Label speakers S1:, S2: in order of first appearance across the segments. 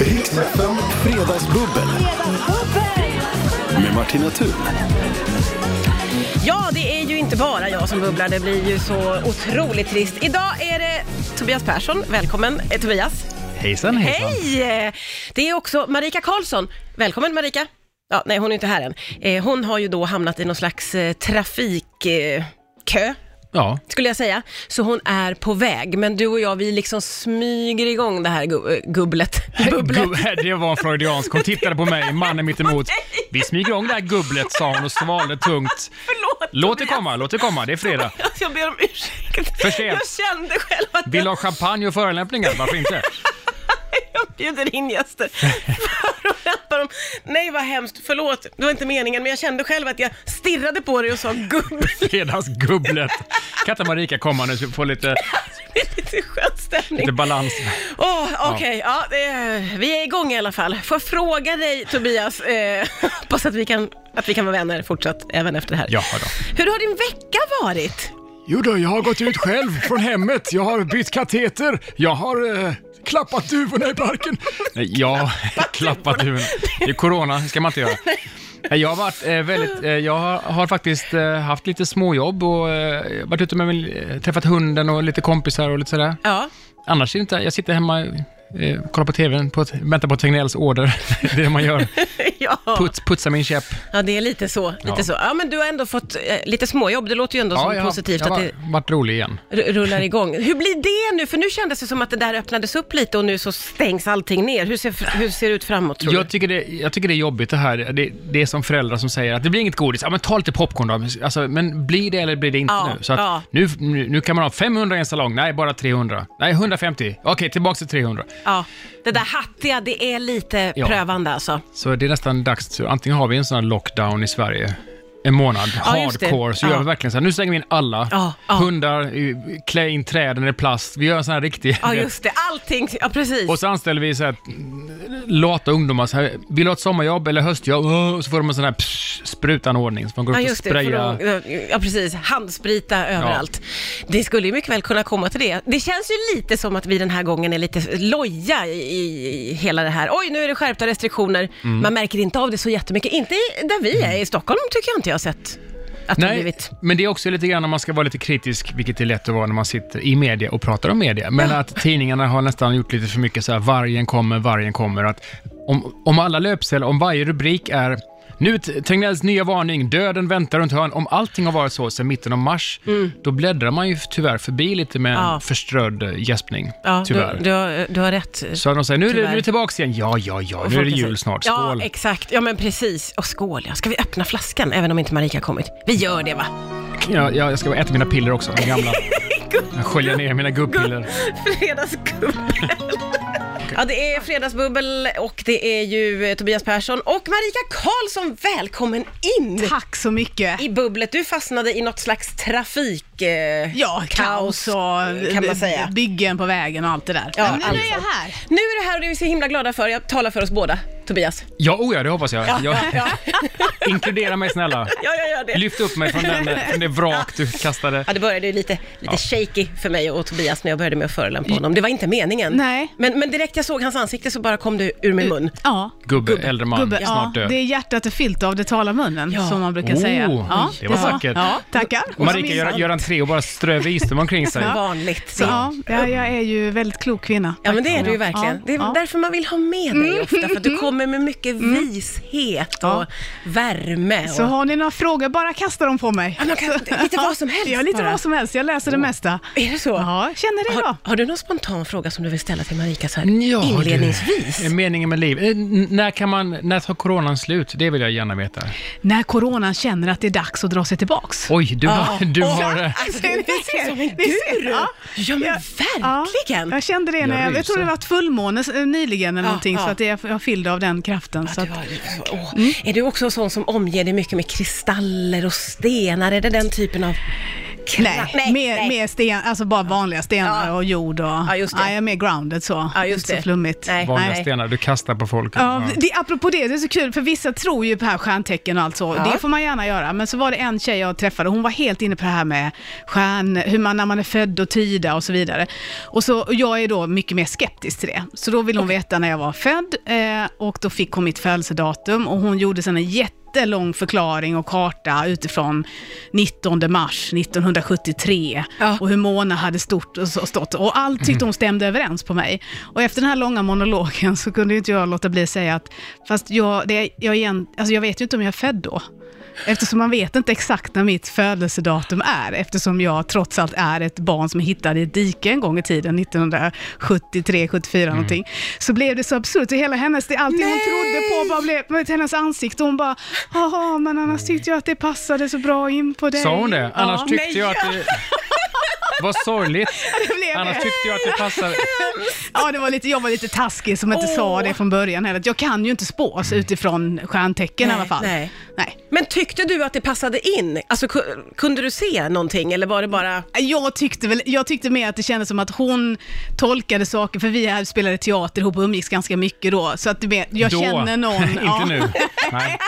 S1: Riksfem Fredagsbubbel med Martina Thun.
S2: Ja, det är ju inte bara jag som bubblar, det blir ju så otroligt trist. Idag är det Tobias Persson, välkommen eh, Tobias.
S3: Hejsan, hejsan.
S2: Hej! Det är också Marika Karlsson. Välkommen Marika. Ja, nej, hon är inte här än. Eh, Hon har ju då hamnat i någon slags eh, trafikkö,
S3: Ja,
S2: skulle jag säga. Så hon är på väg, men du och jag, vi liksom smyger igång det här gu- eh, gubblet. Bubblet.
S3: Gu- det var en freudiansk. Hon tittade på mig, mannen mittemot. Vi smyger igång det här gubblet, sa hon och svalde tungt.
S2: Förlåt
S3: Låt det
S2: Tobias.
S3: komma, låt det komma, det är fredag.
S2: Alltså, jag ber om ursäkt.
S3: För sent.
S2: Jag kände själv att
S3: Vill du ha champagne och förolämpningar? Varför inte?
S2: jag bjuder in gäster för att hjälpa dem. Nej, vad hemskt. Förlåt, det var inte meningen, men jag kände själv att jag stirrade på dig och sa gubb.
S3: Fredagsgubblet. Kan inte Marika komma nu så vi får lite,
S2: Det är lite skön stämning.
S3: lite balans?
S2: Åh, Okej, ja. det är- vi är igång i alla fall. Får jag fråga dig Tobias, eh, hoppas att vi, kan, att vi kan vara vänner fortsatt även efter det här.
S3: Ja då.
S2: Hur har din vecka varit?
S3: Jo då, jag har gått ut själv från hemmet. Jag har bytt kateter. Jag har eh, klappat duvorna i parken. Ja, klappat duvorna. Det är corona, det ska man inte göra. Nej, Jag har, varit, eh, väldigt, eh, jag har, har faktiskt eh, haft lite småjobb och eh, varit ute med min, eh, träffat hunden och lite kompisar och lite sådär.
S2: Ja,
S3: Annars är det inte, jag sitter hemma, eh, kollar på TVn, på, ett- väntar på Tegnells order. Det är det man gör.
S2: ja.
S3: Puts, putsa min käpp.
S2: ja det är lite så. Lite
S3: Ja.
S2: så. Ja, men du har ändå fått eh, lite småjobb, det låter ju ändå som
S3: jag, har-
S2: positivt
S3: jag
S2: att
S3: har
S2: det
S3: varit rolig igen.
S2: r- rullar igång. Hur blir det nu? För nu kändes det som att det där öppnades upp lite och nu så stängs allting ner. Hur ser, hur ser det ut framåt tror
S3: Jag tycker, det, jag tycker det är jobbigt det här. Det, det är som föräldrar som säger att det blir inget godis. Ja, men ta lite popcorn då. Alltså, men blir det eller blir det inte
S2: Ja,
S3: nu? Så att
S2: ja.
S3: nu, nu? Nu kan man ha 500 i en salong. Nej, bara 300. Nej, 150. Okej, tillbaka till 300.
S2: du? Ja, det där hattiga, det är lite
S3: Ja.
S2: prövande alltså.
S3: Så det är nästan dags. Så antingen har vi en sån här lockdown i Sverige en månad,
S2: Ja, just det.
S3: hardcore, så
S2: Ja.
S3: gör vi verkligen så här. Nu stänger vi in alla.
S2: Ja, ja.
S3: Hundar, eh, klä in träden i plast. Vi gör en sån här riktig...
S2: Ja, just det. Allting, ja precis.
S3: Och så anställer vi så här, lata ungdomar. Så här, vill du ha ett sommarjobb eller höstjobb? Åh, Och så får de en sån här psh, sprutanordning. Så man går
S2: Ja,
S3: upp och
S2: just det. För
S3: sprayar.
S2: de- ja, precis. Handsprita överallt. Det skulle ju mycket väl kunna komma till det. Det känns ju lite som att vi den här gången är lite loja i, i hela det här. Oj, nu är det skärpta restriktioner.
S3: Mm.
S2: Man märker inte av det så jättemycket. Inte i- där vi är. I Stockholm tycker jag inte jag har sett att det har
S3: Nej,
S2: blivit.
S3: men det är också lite grann om man ska vara lite kritisk, vilket är lätt att vara när man sitter i media och pratar om media. Men att tidningarna har nästan gjort lite för mycket så här, vargen kommer, vargen kommer. Att om, om alla löpsedlar, om varje rubrik är nu t- Tegnells nya varning, döden väntar runt hörn. Om allting har varit så sedan mitten av mars, då bläddrar man ju tyvärr förbi lite med
S2: Mm. Ja.
S3: en förströdd eh, gäspning.
S2: Ja, du,
S3: tyvärr.
S2: du, har, du har rätt.
S3: Så de säger, nu är det, nu är
S2: Tyvärr.
S3: det tillbaka igen. Ja, ja, ja,
S2: Och
S3: nu är
S2: folk
S3: det
S2: säger-
S3: jul snart. Skål.
S2: Ja, exakt. Ja, men precis. Och skål, ja. Ska vi öppna flaskan, även om inte Marika har kommit? Vi gör det, va?
S3: Ja, jag, jag ska äta mina piller också, de gamla. Jag sköljer ner mina gubbpiller.
S2: Fredagsgubbel. Ja, det är fredagsbubbel och det är ju eh, Tobias Persson och Marika Karlsson. Välkommen in
S4: Tack så mycket.
S2: i bubblet. Du fastnade i något slags trafik... Eh,
S4: Ja, kaos och
S2: kan man säga.
S4: byggen på vägen och allt det där.
S2: Ja,
S4: Men nu
S2: alltså.
S4: är jag här.
S2: Nu är det här och det är vi så himla glada för. Jag talar för oss båda, Tobias.
S3: Ja, oh ja, det hoppas jag. jag
S2: ja.
S3: inkludera mig snälla.
S2: Ja, jag gör det.
S3: Lyft upp mig från, den, från det vrak du kastade.
S2: Ja, det började ju lite, lite shaky för mig och Tobias när jag började med att förolämpa honom. Det var inte meningen.
S4: Nej.
S2: Men, men direkt jag såg hans ansikte så bara kom det ur min mun.
S4: Ja.
S3: Gubbe, äldre man,
S4: Gubbe,
S3: snart
S4: ja,
S3: död.
S4: det är hjärtat är fyllt av det talar munnen,
S2: Ja.
S4: som man brukar
S3: Oh,
S4: säga. Ja,
S3: det var
S4: är så.
S3: vackert.
S4: Ja, tackar.
S3: Marika gör, gör en tre och bara ströver visdom omkring sig.
S2: Ja. Vanligt.
S4: Så, ja, ja, jag är ju väldigt klok kvinna.
S2: Ja men det är du ju verkligen.
S4: Ja,
S2: det är
S4: ja. Mm.
S2: därför man vill ha med dig ofta, för att du kommer med mycket vishet och
S4: Ja.
S2: värme. Och...
S4: Så har ni några frågor, bara kasta dem på mig.
S2: Ja, man kan, lite vad som helst
S4: Ja, lite
S2: bara.
S4: vad som helst. Jag läser det mesta.
S2: Är det så?
S4: Ja, känner det
S2: Har,
S4: idag.
S2: har du någon spontan fråga som du vill ställa till Marika så här
S3: Ja, du.
S2: inledningsvis?
S3: Eh, Meningen med liv. Eh, n- När, kan man, när tar coronan slut? Det vill jag gärna veta.
S4: När coronan känner att det är dags att dra sig tillbaks.
S3: Oj, du, har, du
S2: Åh,
S3: har... eh,
S2: Alltså, du
S4: Ni
S2: är
S4: ser,
S2: som en
S4: ni ser,
S2: guru!
S4: ja.
S2: Ja men
S4: Ja,
S2: verkligen!
S4: jag kände det när
S3: Jag
S4: jag, jag,
S3: ryser.
S4: tror det var ett fullmåne eh, nyligen eller
S2: Ja,
S4: någonting,
S2: ja.
S4: så att jag, jag fyllde av den kraften. så
S2: Ja,
S4: att, Mm.
S2: du har ju- åh. Är du också sån som omger dig mycket med kristaller och stenar? Är det den typen av
S4: Nej,
S2: nej,
S4: mer,
S2: nej.
S4: mer sten, alltså bara vanliga stenar
S2: Ja.
S4: och jord och...
S2: Ja, just det.
S4: jag är mer grounded så.
S2: Ja, just
S4: Inte
S2: det.
S4: så flummigt.
S2: Nej.
S3: Vanliga
S2: Nej.
S3: stenar, du kastar på folk.
S4: Ja, det, apropå det, det är så kul, för vissa tror ju på här stjärntecken och allt så.
S2: Ja.
S4: Det får man gärna göra. Men så var det en tjej jag träffade, hon var helt inne på det här med stjärn, hur man när man är född och tyda och så vidare. Och så, och jag är då mycket mer skeptisk till det. Så då ville hon veta när jag var född eh, och då fick hon mitt födelsedatum och hon gjorde sen en jättelång förklaring och karta utifrån 19 mars 1973
S2: Ja.
S4: och hur Mona hade stort och så- stått. Och allt tyckte hon stämde överens på mig. Och efter den här långa monologen så kunde ju inte jag låta bli att säga att, fast jag, det, jag, igen, alltså jag vet ju inte om jag är född då. Eftersom man vet inte exakt när mitt födelsedatum är, eftersom jag trots allt är ett barn som hittade i ett dike en gång i tiden, 1973, 74
S3: Mm.
S4: någonting. Så blev det så absurt, så hela hennes, det, allting hon trodde på bara blev, med hennes ansikte, hon bara, jaha, men annars tyckte jag att det passade så bra in på dig.
S3: Sa hon det? Annars
S4: ja.
S3: tyckte jag att det... Vad sorgligt.
S4: det blev
S3: Annars
S4: det.
S3: tyckte jag att det passade.
S4: Ja, det var lite, jag var lite taskig som inte
S2: Åh.
S4: sa det från början heller. Jag kan ju inte spås utifrån stjärntecken
S2: Nej,
S4: i alla fall.
S2: nej.
S4: nej.
S2: Men tyckte du att det passade in? Alltså ku- kunde du se någonting eller var det bara...
S4: Jag tyckte, väl, jag tyckte mer att det kändes som att hon tolkade saker, för vi här spelade teater ihop och umgicks ganska mycket då. Så att du vet, jag
S3: Då.
S4: känner någon.
S3: Inte
S4: ja.
S3: nu. Nej.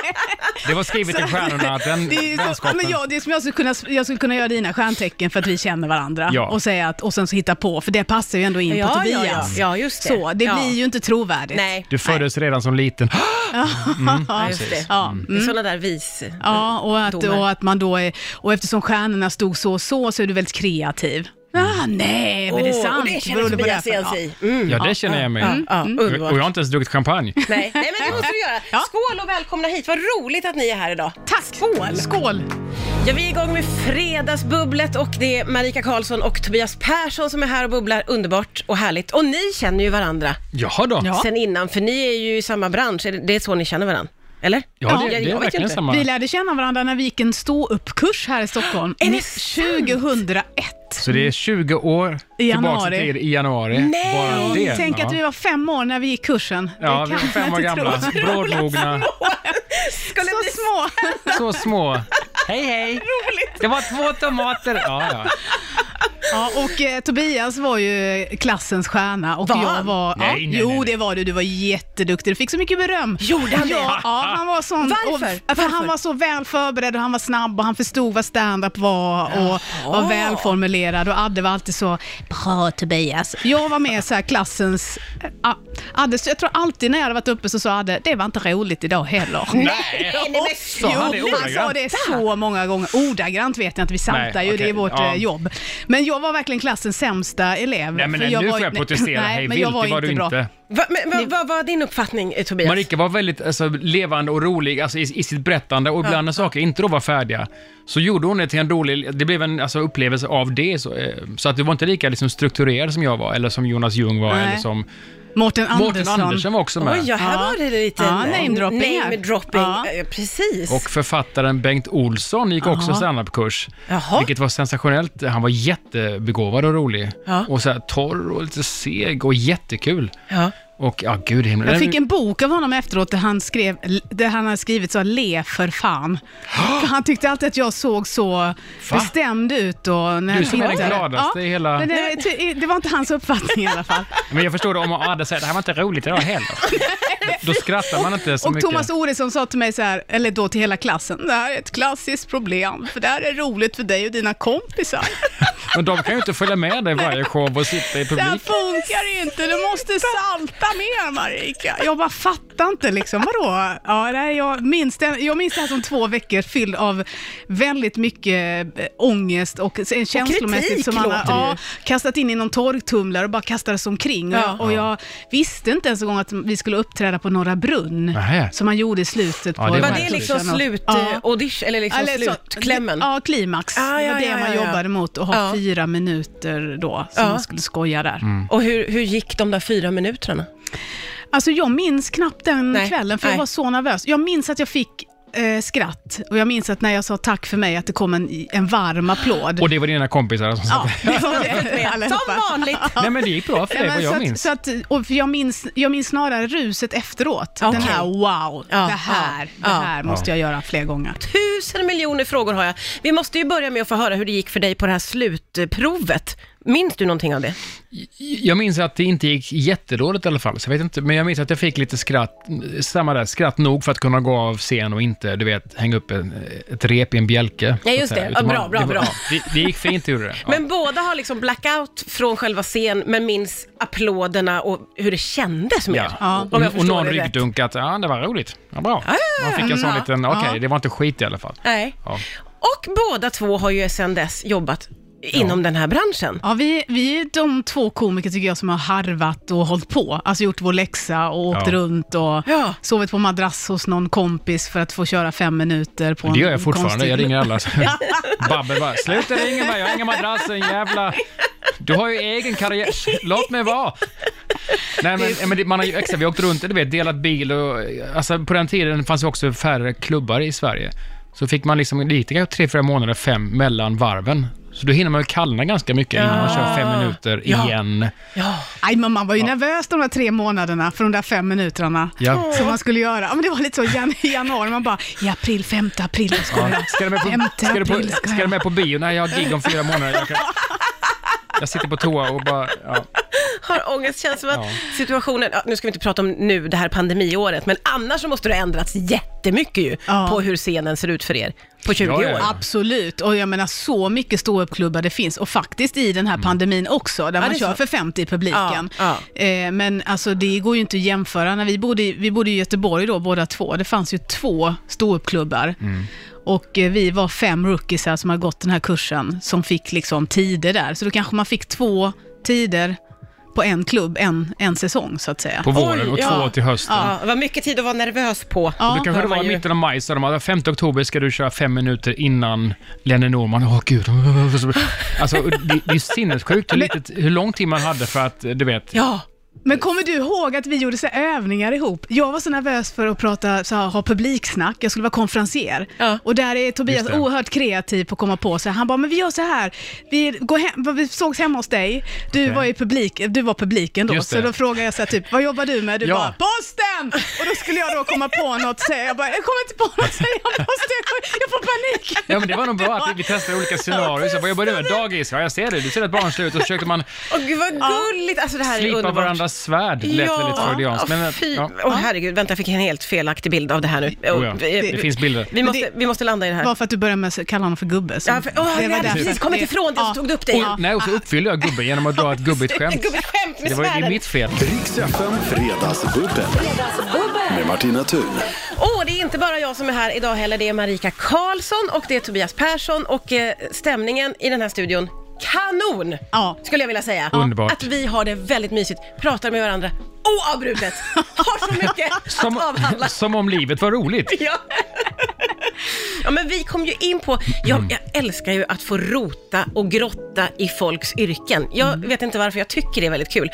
S3: Det var skrivet i stjärnorna, den
S4: Det är, ju så, ja,
S3: vänskapen.
S4: men jag, det är som jag skulle, kunna, jag skulle kunna göra dina stjärntecken för att vi känner varandra
S3: Ja.
S4: och, säga att, och sen så hitta på, för det passar ju ändå in
S2: Ja,
S4: på
S2: ja, ja.
S4: Tobias.
S2: Ja, just det.
S4: Så, det
S2: Ja.
S4: blir ju inte trovärdigt.
S2: Nej,
S3: Du föddes redan som liten.
S2: ja, just det. Mm.
S4: Ja,
S3: Mm.
S4: mm.
S2: Det är sådana där vis...
S4: Ja, och att,
S2: domar.
S4: och att man då är, och eftersom stjärnorna stod så och så, så är du väldigt kreativ. Ah, nej, men det är
S2: Åh,
S4: sant.
S2: och det känner
S4: Beroende på
S2: Tobias
S4: det här-
S2: igen sig i. Mm.
S3: Ja, det känner jag mig.
S2: Ja,
S3: Och jag
S2: underbart.
S3: har inte ens druckit champagne.
S2: Nej, nej, men det måste du göra.
S4: Ja.
S2: Skål och välkomna hit. Vad roligt att ni är här idag.
S4: Ja. Tack!
S2: Skål.
S4: Skål!
S2: Ja, vi är igång med Fredagsbubblet och det är Marika Karlsson och Tobias Persson som är här och bubblar. Underbart och härligt. Och ni känner ju varandra
S3: Jaha då.
S4: Ja.
S2: sen innan, för ni är ju i samma bransch. Är det- Det är så ni känner varandra? Eller?
S3: Ja, det,
S2: Jag- jag
S3: det är
S2: vet ju
S3: verkligen
S2: inte.
S3: samma.
S4: Vi lärde känna varandra när vi gick en ståuppkurs här i Stockholm.
S2: Är det
S4: Ni- 2001.
S3: Så det är 20 år
S4: I
S3: tillbaka
S4: januari.
S3: till i januari.
S2: Nej,
S3: Bara det.
S4: Tänk att vi var fem år när vi gick kursen.
S3: Ja,
S4: Det
S3: vi
S4: kan
S3: var fem
S4: man
S3: år
S4: inte tro.
S3: gamla, brådmogna,
S2: Skulle
S4: Så
S2: bli så
S4: små.
S3: så små. Hej, hej!
S2: roligt.
S3: Det var två tomater. Ja, ja.
S4: Ja, och eh, Tobias var ju klassens stjärna och
S2: Var
S4: jag
S2: han?
S4: var...
S3: Nej,
S4: ja,
S3: nej, nej,
S4: jo,
S3: nej.
S4: det var du. Du var jätteduktig. Du fick så mycket beröm.
S2: Gjorde han det?
S4: Ja, ja han var sån...
S2: Varför?
S4: Och, för
S2: Varför?
S4: han var så väl förberedd och han var snabb och han förstod vad stand-up var och var välformulerad och Adde var alltid så bra Tobias. Jag var med så här klassens... eh, ah, Adde, så jag tror alltid när jag hade varit uppe så sa Adde, det var inte roligt idag heller.
S3: Nej!
S2: Nej, men
S3: Sa
S2: gud.
S3: han
S4: Jo,
S3: det
S4: han sa
S3: ordagrant?
S4: det så många gånger. Ordagrant vet jag inte, vi saltar
S3: Nej,
S4: ju,
S3: okej,
S4: det är vårt
S3: ja.
S4: eh, jobb. Men jag var verkligen klassens sämsta elev.
S3: Nej, men
S4: för
S3: nu
S4: jag
S3: får
S4: var-
S3: jag protestera.
S4: Nej,
S3: Hej
S4: men jag
S3: vilt, det var du
S4: bra.
S3: inte.
S2: Va, men, va, vad var din uppfattning, eh, Tobias?
S3: Marika var väldigt alltså, levande och rolig alltså, i, i sitt berättande och ibland när saker inte då var färdiga så gjorde hon det till en rolig, det blev en alltså, upplevelse av det. Så, eh, så att du var inte lika liksom, strukturerad som jag var eller som Jonas Ljung var
S4: Nej.
S3: eller som
S4: Mårten
S3: Mårten
S4: Andersson.
S3: Andersson var också med.
S2: Oj, ja, här
S4: Ja.
S2: var det lite
S4: Ja, name-dropping här.
S2: name-dropping.
S4: Ja.
S2: Eh, Precis.
S3: Och författaren Bengt Olsson gick också standupkurs.
S2: Jaha.
S3: Vilket var sensationellt. Han var jättebegåvad och rolig.
S2: Ja.
S3: Och så här torr och lite seg och jättekul.
S2: ja.
S3: Och ja, gud i himlen.
S4: Jag fick en bok av honom efteråt där han, skrev, där han hade skrivit så le för fan. För han tyckte alltid att jag såg så bestämd ut. Och när
S3: Du
S4: jag
S3: som är den
S4: tittade.
S3: gladaste i hela-
S4: Men det, det var inte hans uppfattning i alla fall.
S3: Men jag förstod om Adde säger det här var inte roligt idag heller. Då skrattar man inte så
S4: Och
S3: mycket.
S4: Thomas Oresson sa till mig så här, eller då till hela klassen, det här är ett klassiskt problem, för det här är roligt för dig och dina kompisar.
S3: Men de kan ju inte följa med dig i varje show och sitta i
S4: Det här
S3: publiken.
S4: funkar inte, du måste salta mer Marika. Jag bara fattar inte liksom, vadå? Ja, nej, jag, minns det, jag minns det här som två veckor fylld av väldigt mycket eh, ångest och s- en känslomässigt
S2: kritik
S4: som man har
S2: låter det ju.
S4: ja, kastat in i någon torktumlare och bara kastades omkring. Och,
S2: Ja.
S4: jag, och jag visste inte ens en gång att vi skulle uppträda på Norra Brunn,
S3: Nähä.
S4: som man gjorde i slutet
S3: Ja,
S4: på
S3: det
S2: Var
S3: var
S2: det
S3: precis.
S2: liksom slut
S4: Ja.
S2: ja. audition, eller liksom
S4: Eller så-
S2: slutklämmen?
S4: Ja, klimax.
S2: Ah,
S4: det
S2: ja,
S4: var det
S2: ja,
S4: man
S2: ja, ja.
S4: jobbade mot, att ha
S2: Ja.
S4: fyra minuter då, som
S2: Ja.
S4: man skulle skoja där.
S2: Och hur, hur gick de där fyra minuterna?
S4: Alltså jag minns knappt den
S2: Nej,
S4: kvällen, för
S2: nej.
S4: jag var så nervös. Jag minns att jag fick eh, skratt. Och jag minns att när jag sa tack för mig, att det kom en, en varm applåd.
S3: Och det var dina kompisar som
S4: ja,
S3: sa
S4: det var
S2: Med.
S4: det.
S2: Som
S4: allihopa.
S2: vanligt.
S3: Nej men det gick bra för
S4: Nej,
S3: dig
S4: men
S3: vad
S4: så
S3: jag
S4: att-
S3: minns.
S4: Så att, och för jag, minns, jag minns snarare ruset efteråt.
S2: Okej.
S4: Den här wow,
S2: Ja,
S4: det
S2: ja,
S4: här, det
S2: ja.
S4: här måste jag göra fler gånger.
S2: Tusen miljoner frågor har jag. Vi måste ju börja med att få höra hur det gick för dig på det här slutprovet. Minns du någonting av det?
S3: Jag minns att det inte gick jättedåligt i alla fall, så jag vet inte, men jag minns att jag fick lite skratt, samma där, skratt nog för att kunna gå av scen och inte, du vet, hänga upp en, ett rep i en bjälke.
S2: Ja,
S3: så
S2: just
S3: att säga.
S2: det.
S3: Utan
S2: Ja, bra, bra,
S3: det var-
S2: bra.
S3: Det, det gick fint, det gjorde det. Ja.
S2: Men båda har liksom blackout från själva scen, men minns applåderna och hur det kändes mer.
S3: Ja.
S4: Ja.
S2: Om jag
S3: och, och
S2: förstår
S3: någon
S2: det rätt.
S3: ryggdunk att, ja, det var roligt. Ja, bra. Man fick en sån
S4: ja,
S3: liten, okej,
S4: ja.
S3: det var inte skit i alla fall.
S2: Nej.
S3: Ja.
S2: Och båda två har ju sedan dess jobbat inom den här branschen.
S4: Ja, vi, vi är de två komiker tycker jag som har harvat och hållit på. Alltså gjort vår läxa och åkt
S3: Ja.
S4: runt och
S2: Ja.
S4: sovit på madrass hos någon kompis för att få köra fem minuter på en
S3: Det gör jag fortfarande,
S4: konstig-
S3: jag ringer alla. så- Babbel bara, sluta ringa mig, jag har ingen madrass, en jävla... Du har ju egen karriär, låt mig vara! Nej men, men det, man har ju, exakt, vi har åkt runt, du vet, delat bil och, alltså på den tiden fanns ju också färre klubbar i Sverige. Så fick man liksom, det gick kanske tre, fyra månader, fem, mellan varven. Så då hinner man ju kallna ganska mycket innan man kör fem minuter
S2: Ja.
S3: igen.
S2: Ja.
S4: Aj, men man var ju nervös de där tre månaderna för de där fem minuterna
S3: Ja.
S4: som man skulle göra. Ja, men det var lite så i jan- i januari, man bara i april, femte april, då ska jag.
S3: Ska du med på,
S4: Femte
S3: ska du på,
S4: april ska
S3: ska du
S4: jag.
S3: med på bio? Nej, jag har gig om fyra månader. Jag, kan, jag sitter på toa och bara, ja.
S2: Har ångest, känns som att
S3: Ja.
S2: situationen, ja, nu ska vi inte prata om nu det här pandemiåret, men annars så måste det ha ändrats jättemycket ju
S4: Ja.
S2: på hur scenen ser ut för er på 20
S3: Ja, ja,
S2: år.
S3: ja.
S4: Absolut, och jag menar så mycket ståuppklubbar det finns och faktiskt i den här pandemin också, där
S2: det
S4: man
S2: är
S4: kör
S2: så.
S4: för 50 i publiken.
S2: Ja,
S4: Eh, men alltså det går ju inte att jämföra. När vi, bodde, i- vi bodde i Göteborg då båda två, det fanns ju två ståuppklubbar. Och eh, vi var fem rookies här som hade gått den här kursen, som fick liksom tider där. Så då kanske man fick två tider på en klubb, en, en säsong så att säga.
S3: På våren och
S2: Oj,
S3: två
S2: ja.
S3: till hösten.
S2: Ja, det var mycket tid att vara nervös på.
S4: Ja.
S3: Då kanske
S2: hör
S3: det var
S2: man ju.
S3: i mitten av maj, så de hade 5 oktober ska du köra fem minuter innan Lenny Norman. Åh gud. Alltså, det, det är sinnessjukt hur, litet, hur lång tid man hade för att, du vet.
S2: Ja,
S4: Men kommer du ihåg att vi gjorde så här övningar ihop? Jag var så nervös för att prata, så här, ha publiksnack, jag skulle vara konferensier.
S2: Ja.
S4: Och där är Tobias
S3: Just det.
S4: oerhört kreativ på att komma på så här. Han bara, men vi gör så här, vi, går hem, vi sågs hemma hos dig, du
S3: Okej.
S4: var i publik, du var publiken då,
S3: Just
S4: så
S3: det.
S4: då frågade jag så här, typ, vad jobbar du med? Du
S3: Ja.
S4: bara, posten! Och då skulle jag då komma på något, säga, jag bara, jag kommer inte på något, säger jag, posten, jag får- jag får panik.
S3: Ja men det var nog bra att vi- vi testade olika scenarier. Så jag bara, jag började med dagis, ja jag ser det, du ser att barn ser ut. Och så försökte man
S2: och gud vad gulligt. Alltså det här är
S3: slipa
S2: underbart.
S3: varandras svärd, lät väldigt freudianskt. Men,
S2: Men,
S3: att-
S2: fy,
S3: ja.
S2: Åh, herregud, vänta jag fick en helt felaktig bild av det här nu.
S3: Oh, ja.
S2: Vi-
S3: Det finns bilder.
S2: Vi måste, vi måste landa i det här.
S4: Bara för att du började med att kalla honom för gubbe. så-
S2: Ja, för, åh,
S4: det
S2: jag
S4: var
S2: hade
S4: därför.
S2: precis kommit ifrån det, så
S4: Ja.
S2: tog du upp det.
S3: Och, nej, och så uppfyllde jag gubben genom att dra ett gubbigt skämt.
S2: Gubbigt skämt med
S3: Det var ju det är
S2: svärden.
S3: mitt fel.
S1: Riks FM Fredagsbubbel. Med Martina Thun.
S2: Åh, det är inte bara jag som är här idag heller. Det är Marika Karlsson och det är Tobias Persson och eh, stämningen i den här studion Kanon!
S4: Ja.
S2: Skulle jag vilja säga.
S3: Underbart.
S2: Att vi har det väldigt mysigt, pratar med varandra oavbrutet. Har så mycket
S3: Som,
S2: att avhandla.
S3: som om livet var roligt.
S2: Ja. ja, men vi kom ju in på... Jag, jag älskar ju att få rota och grotta i folks yrken. Jag vet inte varför, jag tycker det är väldigt kul.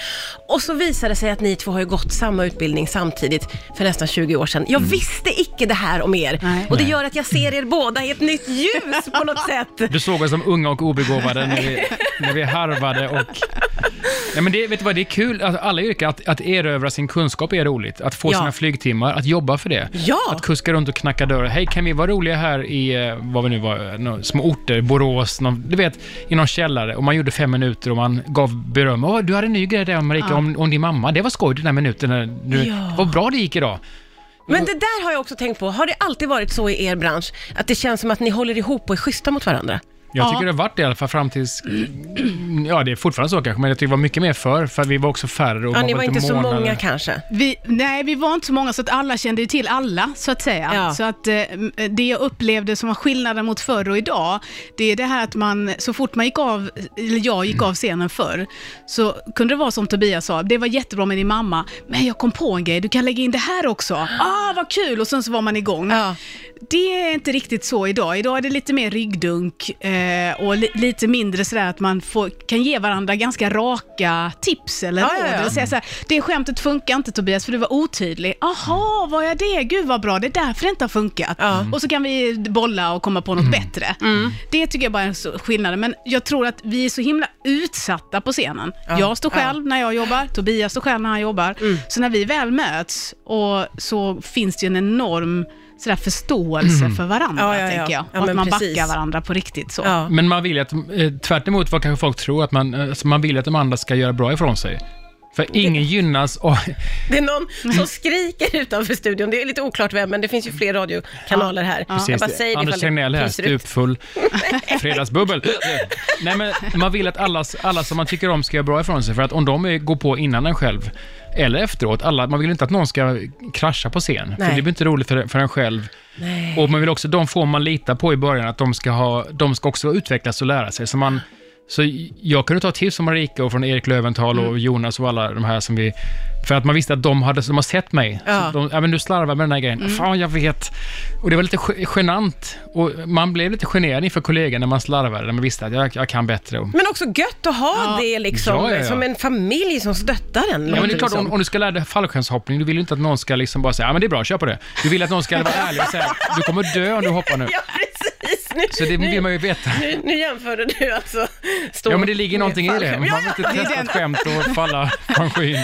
S2: Och så visade det sig att ni två har ju gått samma utbildning samtidigt för nästan 20 år sedan. Jag visste icke det här om er.
S4: Nej.
S2: Och det gör att jag ser er båda i ett nytt ljus på något sätt.
S3: Du såg oss som unga och obegåvade när vi, när vi harvade och... Nej, men det, vet du vad, det är kul, att alla yrken, att, att erövra sin kunskap är roligt. Att få
S2: Ja.
S3: sina flygtimmar, att jobba för det.
S2: Ja.
S3: Att kuska runt och knacka dörrar. Hej, kan vi vara roliga här i, eh, vad vi nu var, eh, nå- små orter, Borås, någon, du vet, i någon källare. Och man gjorde fem minuter och man gav beröm. Åh, du hade en ny grej där Marika, om, om din mamma. Det var skoj den där minuten. När du,
S2: Ja.
S3: Vad bra det gick idag.
S2: Men det där har jag också tänkt på. Har det alltid varit så i er bransch? Att det känns som att ni håller ihop och är schyssta mot varandra?
S3: Jag
S4: Ja.
S3: tycker det har varit det i alla fall fram tills... Ja, det är fortfarande så kanske, men jag tycker det var mycket mer förr, för vi var också färre och
S2: Ja,
S3: man
S2: ni var
S3: lite
S2: inte så
S3: månare.
S2: många kanske.
S4: Vi, nej, vi var inte så många så att alla kände ju till alla, så att säga.
S2: Ja.
S4: Så att eh, m- det jag upplevde som var skillnaden mot förr och idag, det är det här att man, så fort man gick av, eller jag gick av scenen förr, så kunde det vara som Tobias sa, det var jättebra med din mamma, men jag kom på en grej, du kan lägga in det här också. Ah, vad kul! Och sen så var man igång.
S2: Ja.
S4: Det är inte riktigt så idag. Idag är det lite mer ryggdunk eh, och li- lite mindre sådär att man får, kan ge varandra ganska raka tips eller
S2: Ja,
S4: råd.
S2: ja, ja.
S4: Eller säga såhär, det skämtet funkar inte Tobias för du var otydlig. Jaha, var jag det? Gud vad bra, det är därför det inte har funkat. Mm.
S2: Ja. Mm.
S4: Och så kan vi bolla och komma på något bättre. Det tycker jag bara är en stor skillnad. Men jag tror att vi är så himla utsatta på scenen.
S2: Ja.
S4: Jag står
S2: Ja. Mm.
S4: själv när jag jobbar, Tobias står själv när han jobbar. Så när vi väl möts och så finns det ju en enorm sådär förståelse för varandra,
S2: Mm. Ja, ja, ja.
S4: tänker jag.
S2: Ja,
S4: och
S2: men
S4: att man
S2: precis.
S4: backar varandra på riktigt. Så.
S2: Ja.
S3: Men man vill ju att, eh, tvärt emot vad kanske folk tror, att man, eh, alltså man vill att de andra ska göra bra ifrån sig. För ingen gynnas av...
S2: Det är någon som skriker utanför studion. Det är lite oklart vem, men det finns ju fler radiokanaler här. Jag bara säger det
S3: Anders
S2: ifall
S3: Tegnell här,
S2: pyser ut.
S3: stupfull. Fredagsbubbel. Nej, men man vill att alla, alla som man tycker om ska göra bra ifrån sig, för att om de är, går på innan en själv, eller efteråt, alla, man vill inte att någon ska krascha på scen, för
S2: Nej.
S3: det blir inte roligt för, för en själv. Och man vill också, de får man lita på i början, att de ska, ha, de ska också utvecklas och lära sig. Så, man, så jag kunde ta tips från Marika och från Erik Löventhal och Jonas och alla de här som vi... För att man visste att de, hade, de har sett mig.
S2: Ja.
S3: Så de, ja, men du slarvar med den här grejen. Fan, jag vet. Och det var lite ge- genant. Och man blev lite generad inför kollegor när man slarvade, när man visste att jag, jag kan bättre. Och,
S2: Men också gött att ha det liksom,
S3: Ja, ja, ja.
S2: som en familj som stöttar en.
S3: Ja, men
S2: låter
S3: det är klart,
S2: som.
S3: om, om du ska lära dig fallskärmshoppning, du vill ju inte att någon ska liksom bara säga ja men det är bra, kör på det. Du vill att någon ska vara ärlig och säga du kommer dö om du hoppar nu.
S2: Ja, precis. Nu,
S3: Så det vill man
S2: nu,
S3: ju veta.
S2: nu, nu jämförde du alltså stå
S3: Ja, men det ligger någonting i det. Man
S2: Ja,
S3: vill inte
S4: Det är
S3: testa
S4: den-
S3: ett skämt och falla från skyn.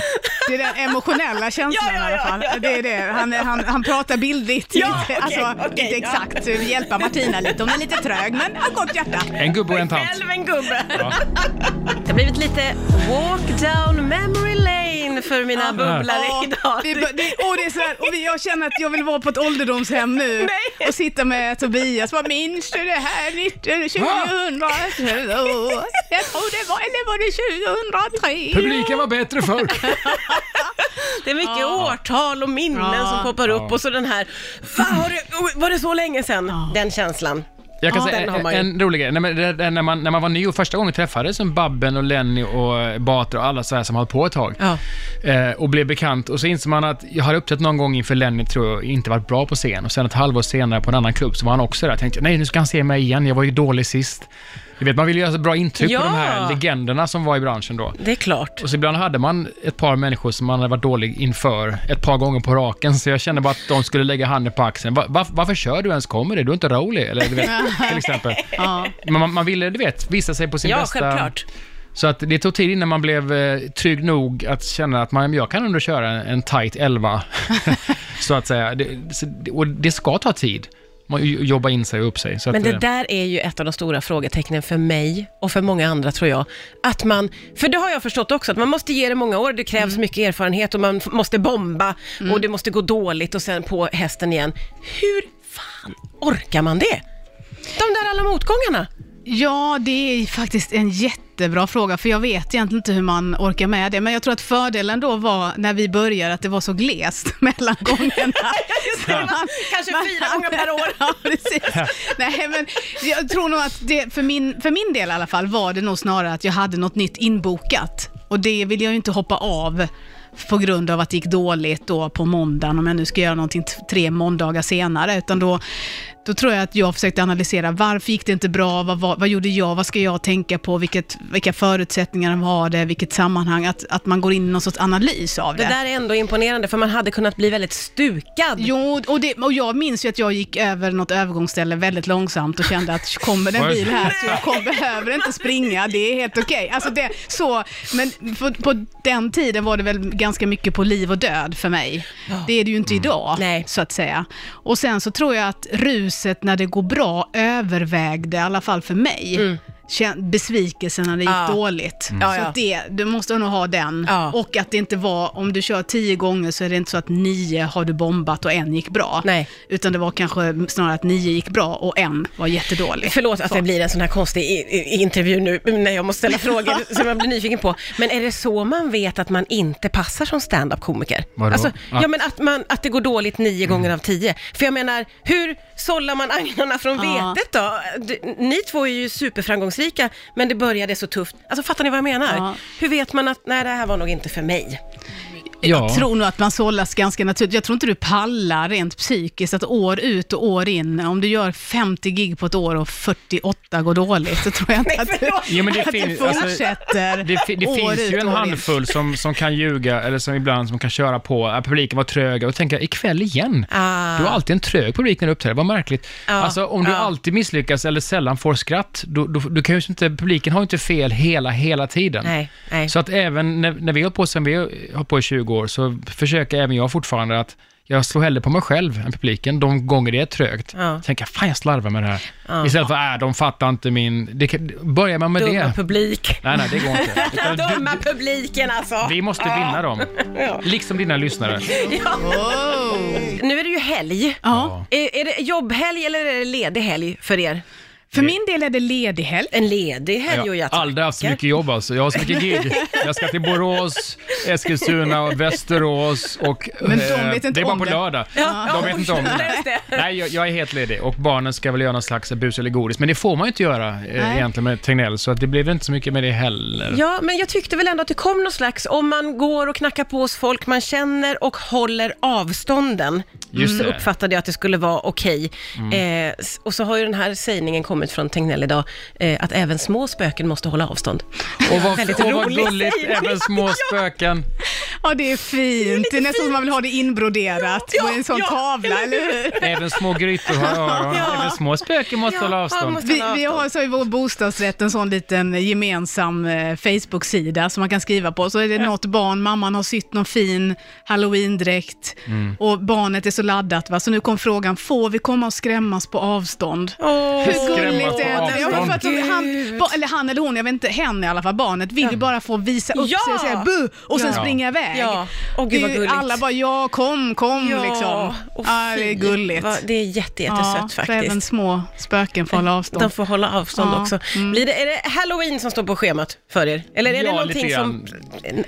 S4: Det är den emotionella känslan
S2: Ja, ja, ja,
S4: i alla fall.
S2: ja, ja.
S4: Det är det. Han, han, han pratar bildligt.
S2: Ja, okej,
S4: alltså,
S2: okej,
S4: inte
S2: ja.
S4: exakt. Hjälpa Martina lite. Hon är lite trög, men har gott hjärta.
S3: En gubbe och en tant.
S2: Själv en gubbe.
S3: Ja.
S2: Det har blivit lite walk down memory lane för mina bubblare idag.
S4: Det, är bara- det, och det är sådär, och vi- jag känner att jag vill vara på ett ålderdomshem nu
S2: Nej.
S4: och sitta med Tobias. Vad minns du det här 19, 2000? Jag tror det var, eller var det 2003?
S3: Publiken var bättre förr.
S2: Det är mycket årtal och minnen
S4: Ja.
S2: som poppar upp och så den här, Va, har det, oj, var det så länge sedan? Den känslan.
S3: Jag kan
S2: Ja, den har
S3: säga
S2: man ju.
S3: en rolig grej. Nej, men det, det, när, man, när man var ny och första gången träffades som Babben och Lenny och eh, Batra och alla så här som höll på ett tag
S2: Ja.
S3: eh, och blev bekant och så insåg man att jag hade upptäckt någon gång inför Lenny tror jag inte varit bra på scen och sen ett halvår senare på en annan klubb så var han också där. Jag tänkte nej nu ska han se mig igen, jag var ju dålig sist. Du vet man vill ju göra så bra intryck
S2: Ja.
S3: på de här legenderna som var i branschen då.
S2: Det är klart.
S3: Och så ibland hade man ett par människor som man hade varit dålig inför ett par gånger på raken, så jag kände bara att de skulle lägga handen på axeln. Va, va, varför kör du ens? Kommer det? Du är inte rolig, eller du vet, till exempel.
S4: Ja.
S3: Men man, man ville, du vet, visa sig på sin
S2: Ja,
S3: bästa...
S2: självklart.
S3: Så att det tog tid innan man blev eh, trygg nog att känna att man, jag kan ändå köra en, en tight 11, så att säga. Det, så, och det ska ta tid, man ju- jobba in sig och upp sig. Så
S2: Men
S3: att,
S2: det
S3: eh,
S2: där är ju ett av de stora frågetecknen för mig och för många andra tror jag. Att man, för det har jag förstått också, att man måste ge det många år, det krävs mycket erfarenhet och man f- måste bomba och det måste gå dåligt och sen på hästen igen. Hur fan orkar man det? De där alla motgångarna.
S4: Ja, det är faktiskt en jättebra fråga, för jag vet egentligen inte hur man orkar med det. Men jag tror att fördelen då var, när vi började, att det var så glest mellan gångerna. Så man-
S2: Kanske
S4: man-
S2: fyra gånger per år.
S4: Ja, precis. Nej, men jag tror nog att det, för min, för min del i alla fall, var det nog snarare att jag hade något nytt inbokat. Och det vill jag ju inte hoppa av på grund av att det gick dåligt då på måndagen, om jag nu ska göra någonting t- tre måndagar senare, utan då, då tror jag att jag försökte analysera varför gick det inte bra, vad, vad, vad gjorde jag, vad ska jag tänka på, vilket, vilka förutsättningar var det, vilket sammanhang, att, att man går in i någon sorts analys av det.
S2: Det där är ändå imponerande för man hade kunnat bli väldigt stukad.
S4: Jo, och, det, och jag minns ju att jag gick över något övergångsställe väldigt långsamt och kände att kommer det en bil här så jag kom, behöver inte springa, det är helt okej. Alltså det, så, men på, på den tiden var det väl ganska mycket på liv och död för mig. Det är det ju inte idag,
S2: Nej.
S4: så att säga. Och sen så tror jag att ruset när det går bra övervägde, i alla fall för mig, kän- besvikelsen när det gick
S2: Mm. Ja.
S4: dåligt.
S2: Ja,
S4: Så
S2: ja.
S4: att det, du måste nog ha den.
S2: Ja.
S4: Och att det inte var, om du kör tio gånger så är det inte så att nio har du bombat och en gick bra.
S2: Nej.
S4: Utan det var kanske snarare att nio gick bra och en var jättedålig.
S2: Förlåt att
S4: Så.
S2: det blir en sån här konstig i- i- intervju nu när jag måste ställa frågor som jag blir nyfiken på. Men är det så man vet att man inte passar som standup-komiker? Alltså,
S3: Vadå?
S2: ja,
S3: Att-
S2: men att, man, att det går dåligt nio gånger av tio. För jag menar, hur sållar man agnarna från
S4: Ja.
S2: vetet då? Du, ni två är ju superframgångsrika, men det började så tufft. Alltså fattar ni vad jag menar?
S4: Ja.
S2: Hur vet man att, nej det här var nog inte för mig?
S3: Ja.
S4: Jag tror nog att man sållas ganska naturligt. Jag tror inte du pallar rent psykiskt att år ut och år in, om du gör 50 gig på ett år och 48 går dåligt, så tror jag inte att du,
S3: Jo, men det
S4: att du
S3: finns- alltså,
S4: fortsätter
S3: Det, fi- det
S4: år
S3: finns
S4: ut
S3: ju en
S4: och år in.
S3: handfull som, som kan ljuga, eller som ibland som kan köra på. Äh, Publiken var trög och tänka ikväll igen.
S2: Ah.
S3: Du har alltid en trög publik när du uppträder, vad märkligt.
S2: Ja,
S3: Alltså om du
S2: ja.
S3: alltid misslyckas eller sällan får skratt, då, då, du kan ju inte, publiken har ju inte fel hela, hela tiden.
S2: Nej, nej.
S3: Så att även när, när vi har på sen vi har på i 20 år så försöker även jag fortfarande att jag slår hellre på mig själv än publiken de gånger det är trögt.
S2: Ja.
S3: Tänker, fan jag slarvar med det här. Istället för, äh, de fattar inte min... Det kan, börjar man med
S2: Dumma
S3: det...
S2: publik.
S3: Nej, nej, det går inte. Utan du-
S2: Dumma publiken alltså.
S3: vi måste vinna dem. Liksom dina lyssnare.
S2: Nu är det ju helg.
S4: Ja.
S2: Är, är det jobbhelg eller är det ledig helg för er?
S4: För min del är det ledig helg.
S2: En ledig helg och
S3: Jag
S2: jag
S3: har aldrig haft så mycket jobb alltså. Jag har så mycket gig. Jag ska till Borås, Eskilstuna, och Västerås och...
S4: Men de
S3: eh,
S4: vet inte
S3: det är bara
S4: om
S3: på
S4: det.
S3: lördag.
S2: Ja,
S3: De vet inte om det.
S2: just det.
S3: Nej, jag, jag är helt ledig och barnen ska väl göra någon slags bus eller godis. Men det får man ju inte göra eh,
S4: Nej.
S3: egentligen med Tegnell, så att det blev inte så mycket med det heller.
S2: Ja, men jag tyckte väl ändå att det kom någon slags, om man går och knackar på hos folk man känner och håller avstånden,
S3: Just
S2: så
S3: det. Mm.
S2: uppfattade jag att det skulle vara okej. Eh, s- och så har ju den här sägningen kommit från Tegnell idag, eh, att även små spöken måste hålla avstånd.
S3: Och vad,
S2: Väldigt
S3: och vad
S2: rolig
S3: gulligt,
S2: sägning.
S3: även små spöken.
S4: Ja, det är fint. Det är nästan som man vill ha det inbroderat
S2: Ja,
S4: på en sån
S2: ja,
S4: tavla, eller hur?
S3: Även små grytor har öron.
S2: Ja.
S3: Även små spöken måste
S2: Ja,
S3: hålla
S2: man
S3: avstånd.
S2: måste-
S4: Vi, vi har så i vår bostadsrätt en sån liten gemensam eh, Facebook-sida som man kan skriva på. Så är det något barn, mamman har sytt någon fin halloween-dräkt och barnet är så laddat. Va? Så nu kom frågan, får vi komma och skrämmas på avstånd?
S2: Åh.
S4: Hur
S3: Skrämmas
S4: gulligt
S3: på
S4: är det? Ja, men för att de-
S2: avstånd.
S4: han, ba- eller han eller hon, jag vet inte, hen i alla fall, barnet vill ju bara få visa upp
S2: Ja.
S4: sig och säga bu och sen
S2: Ja.
S4: springa iväg.
S2: Ja. Åh, gud,
S4: Det är
S2: vad
S4: ju-
S2: gulligt.
S4: alla bara ja, kom, kom liksom.
S2: och
S4: ja, det är
S2: fy,
S4: gulligt.
S2: vad- det är jätte, jättesött
S4: Ja, för
S2: faktiskt.
S4: även små spöken får hålla avstånd.
S2: De får hålla avstånd
S4: Ja, Mm.
S2: också. Blir det, är det halloween som står på schemat för er? Eller är det
S3: Ja,
S2: någonting
S3: lite
S2: som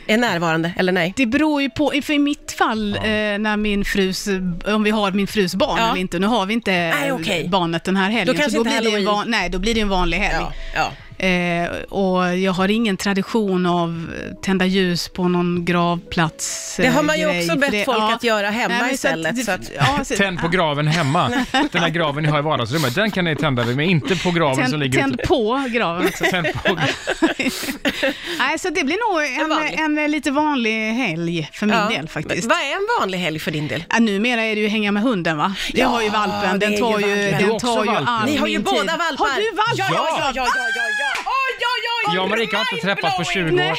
S2: är närvarande, eller nej?
S4: Det beror ju på, för i mitt fall, eh, när min frus, om vi har min frus barn
S2: Ja.
S4: eller inte, nu har vi inte
S2: Nej, okej.
S4: barnet den här helgen,
S2: Då kanske
S4: så då
S2: inte
S4: blir, det ju en
S2: Halloween.
S4: van, nej, då blir det ju en vanlig helg.
S2: Ja, ja.
S4: Eh, och jag har ingen tradition av eh, tända ljus på någon gravplats. eh,
S2: Det har man ju
S4: grej,
S2: också
S4: för
S2: bett
S4: det-
S2: folk
S4: ja.
S2: att göra hemma
S4: men
S2: istället, så att-
S4: ja, så-
S3: Tänd på graven hemma. Den här graven ni har i vardagsrummet, den kan ni tända men inte på graven som
S4: Tänd,
S3: ligger
S4: tänd
S3: ute.
S4: på graven.
S3: Tänd på.
S4: Nej, så det blir nog
S2: vanlig.
S4: en, en, eh, lite vanlig helg för min
S2: Ja.
S4: del faktiskt.
S2: Men Vad är en vanlig helg för din del?
S4: Ja, numera är det ju hänga med hunden va? Jag har ju valpen,
S2: det är
S4: den tar
S2: ju
S4: ju,
S2: valpen.
S3: Du har
S4: den
S3: också
S4: tar ju
S3: valpen.
S4: all
S2: Ni har ju
S4: min
S2: båda
S4: tid.
S2: valpar.
S4: Har du valp?
S2: Ja, ja, ja, ja, ja, ja, ja. Oj, oj, oj.
S3: Jag och Marika har inte träffats på 20 år.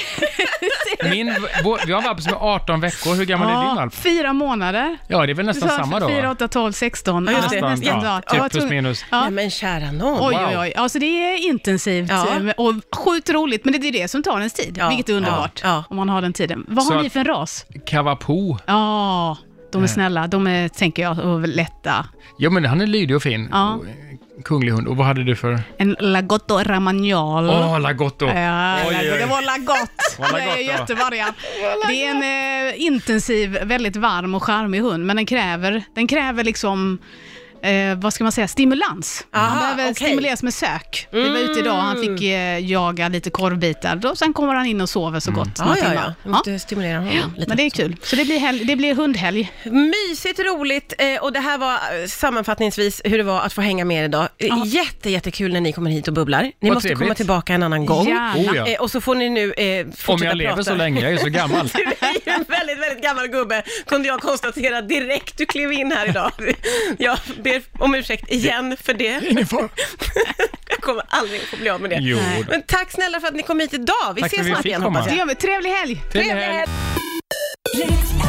S3: Min, vår, vi har en valp som är 18 veckor. Hur gammal är din valp?
S4: fyra månader.
S3: Ja, det är väl nästan
S4: Så
S3: samma då?
S4: 4,
S3: va?
S4: 8, 12, 16.
S2: Ja, just det.
S4: nästan,
S2: Nästan,
S3: ja. Typ
S4: jag tror-
S3: plus minus.
S4: Ja.
S2: Nej, men kära nån.
S4: Oj,
S3: Wow.
S4: oj, oj. Alltså det är intensivt eh,
S2: Ja.
S4: och sjukt roligt, men det är det som tar ens tid,
S2: Ja.
S4: vilket är underbart
S2: Ja. Ja.
S4: om man har den tiden. Vad
S3: Så
S4: har ni
S3: att- Eh.
S4: för en ras?
S3: Kavapo.
S4: Ja, de är snälla, de är, tänker jag, och lätta.
S3: Ja, men han är lydig och fin.
S4: Ja.
S3: Kunglig hund. Och vad hade du för?
S4: En lagotto ramagnolo.
S3: Åh, lagotto.
S4: Ja,
S3: Oj,
S4: det
S3: oj.
S4: det var lagott.
S3: Var la
S4: Det är
S3: gott, ja.
S4: jättevariant. Det är en eh, intensiv, väldigt varm och charmig hund, men den kräver, den kräver liksom Eh, vad ska man säga, stimulans. han
S2: Aha,
S4: behöver
S2: okej.
S4: stimuleras med sök. Vi var ute idag och han fick eh, jaga lite korvbitar. Då, sen kommer han in och sover så gott.
S2: Ja,
S4: några
S2: ja,
S4: timmar.
S2: ja. Jag måste stimulera honom lite.
S4: Men det är kul. Så det blir, hel- det blir hundhelg.
S2: Mysigt, roligt eh, och det här var eh, sammanfattningsvis hur det var att få hänga med er idag. Ja.
S4: Ja.
S2: Jätte, jättekul när ni kommer hit och bubblar. Ni
S3: Vad
S2: måste
S3: trevligt.
S2: komma tillbaka en annan gång.
S4: Gärna.
S3: Oh, ja.
S2: Eh, och så får ni nu eh, fortsätta
S3: Om jag lever
S2: prata.
S3: så länge, jag är så gammal.
S2: Du är ju en väldigt, väldigt gammal gubbe, kunde jag konstatera direkt du klev in här idag. Jag ber om ursäkt igen för det.
S3: Ingen fara.
S2: Jag kommer aldrig att få bli av med det.
S3: Jo.
S2: Men tack snälla för att ni kom hit idag. Vi
S3: Tack för
S2: ses
S3: att vi
S2: snart
S3: fick
S2: igen
S3: komma.
S2: hoppas
S4: Det
S2: jag.
S4: gör vi. Trevlig helg!
S3: Trevlig helg.
S5: Let's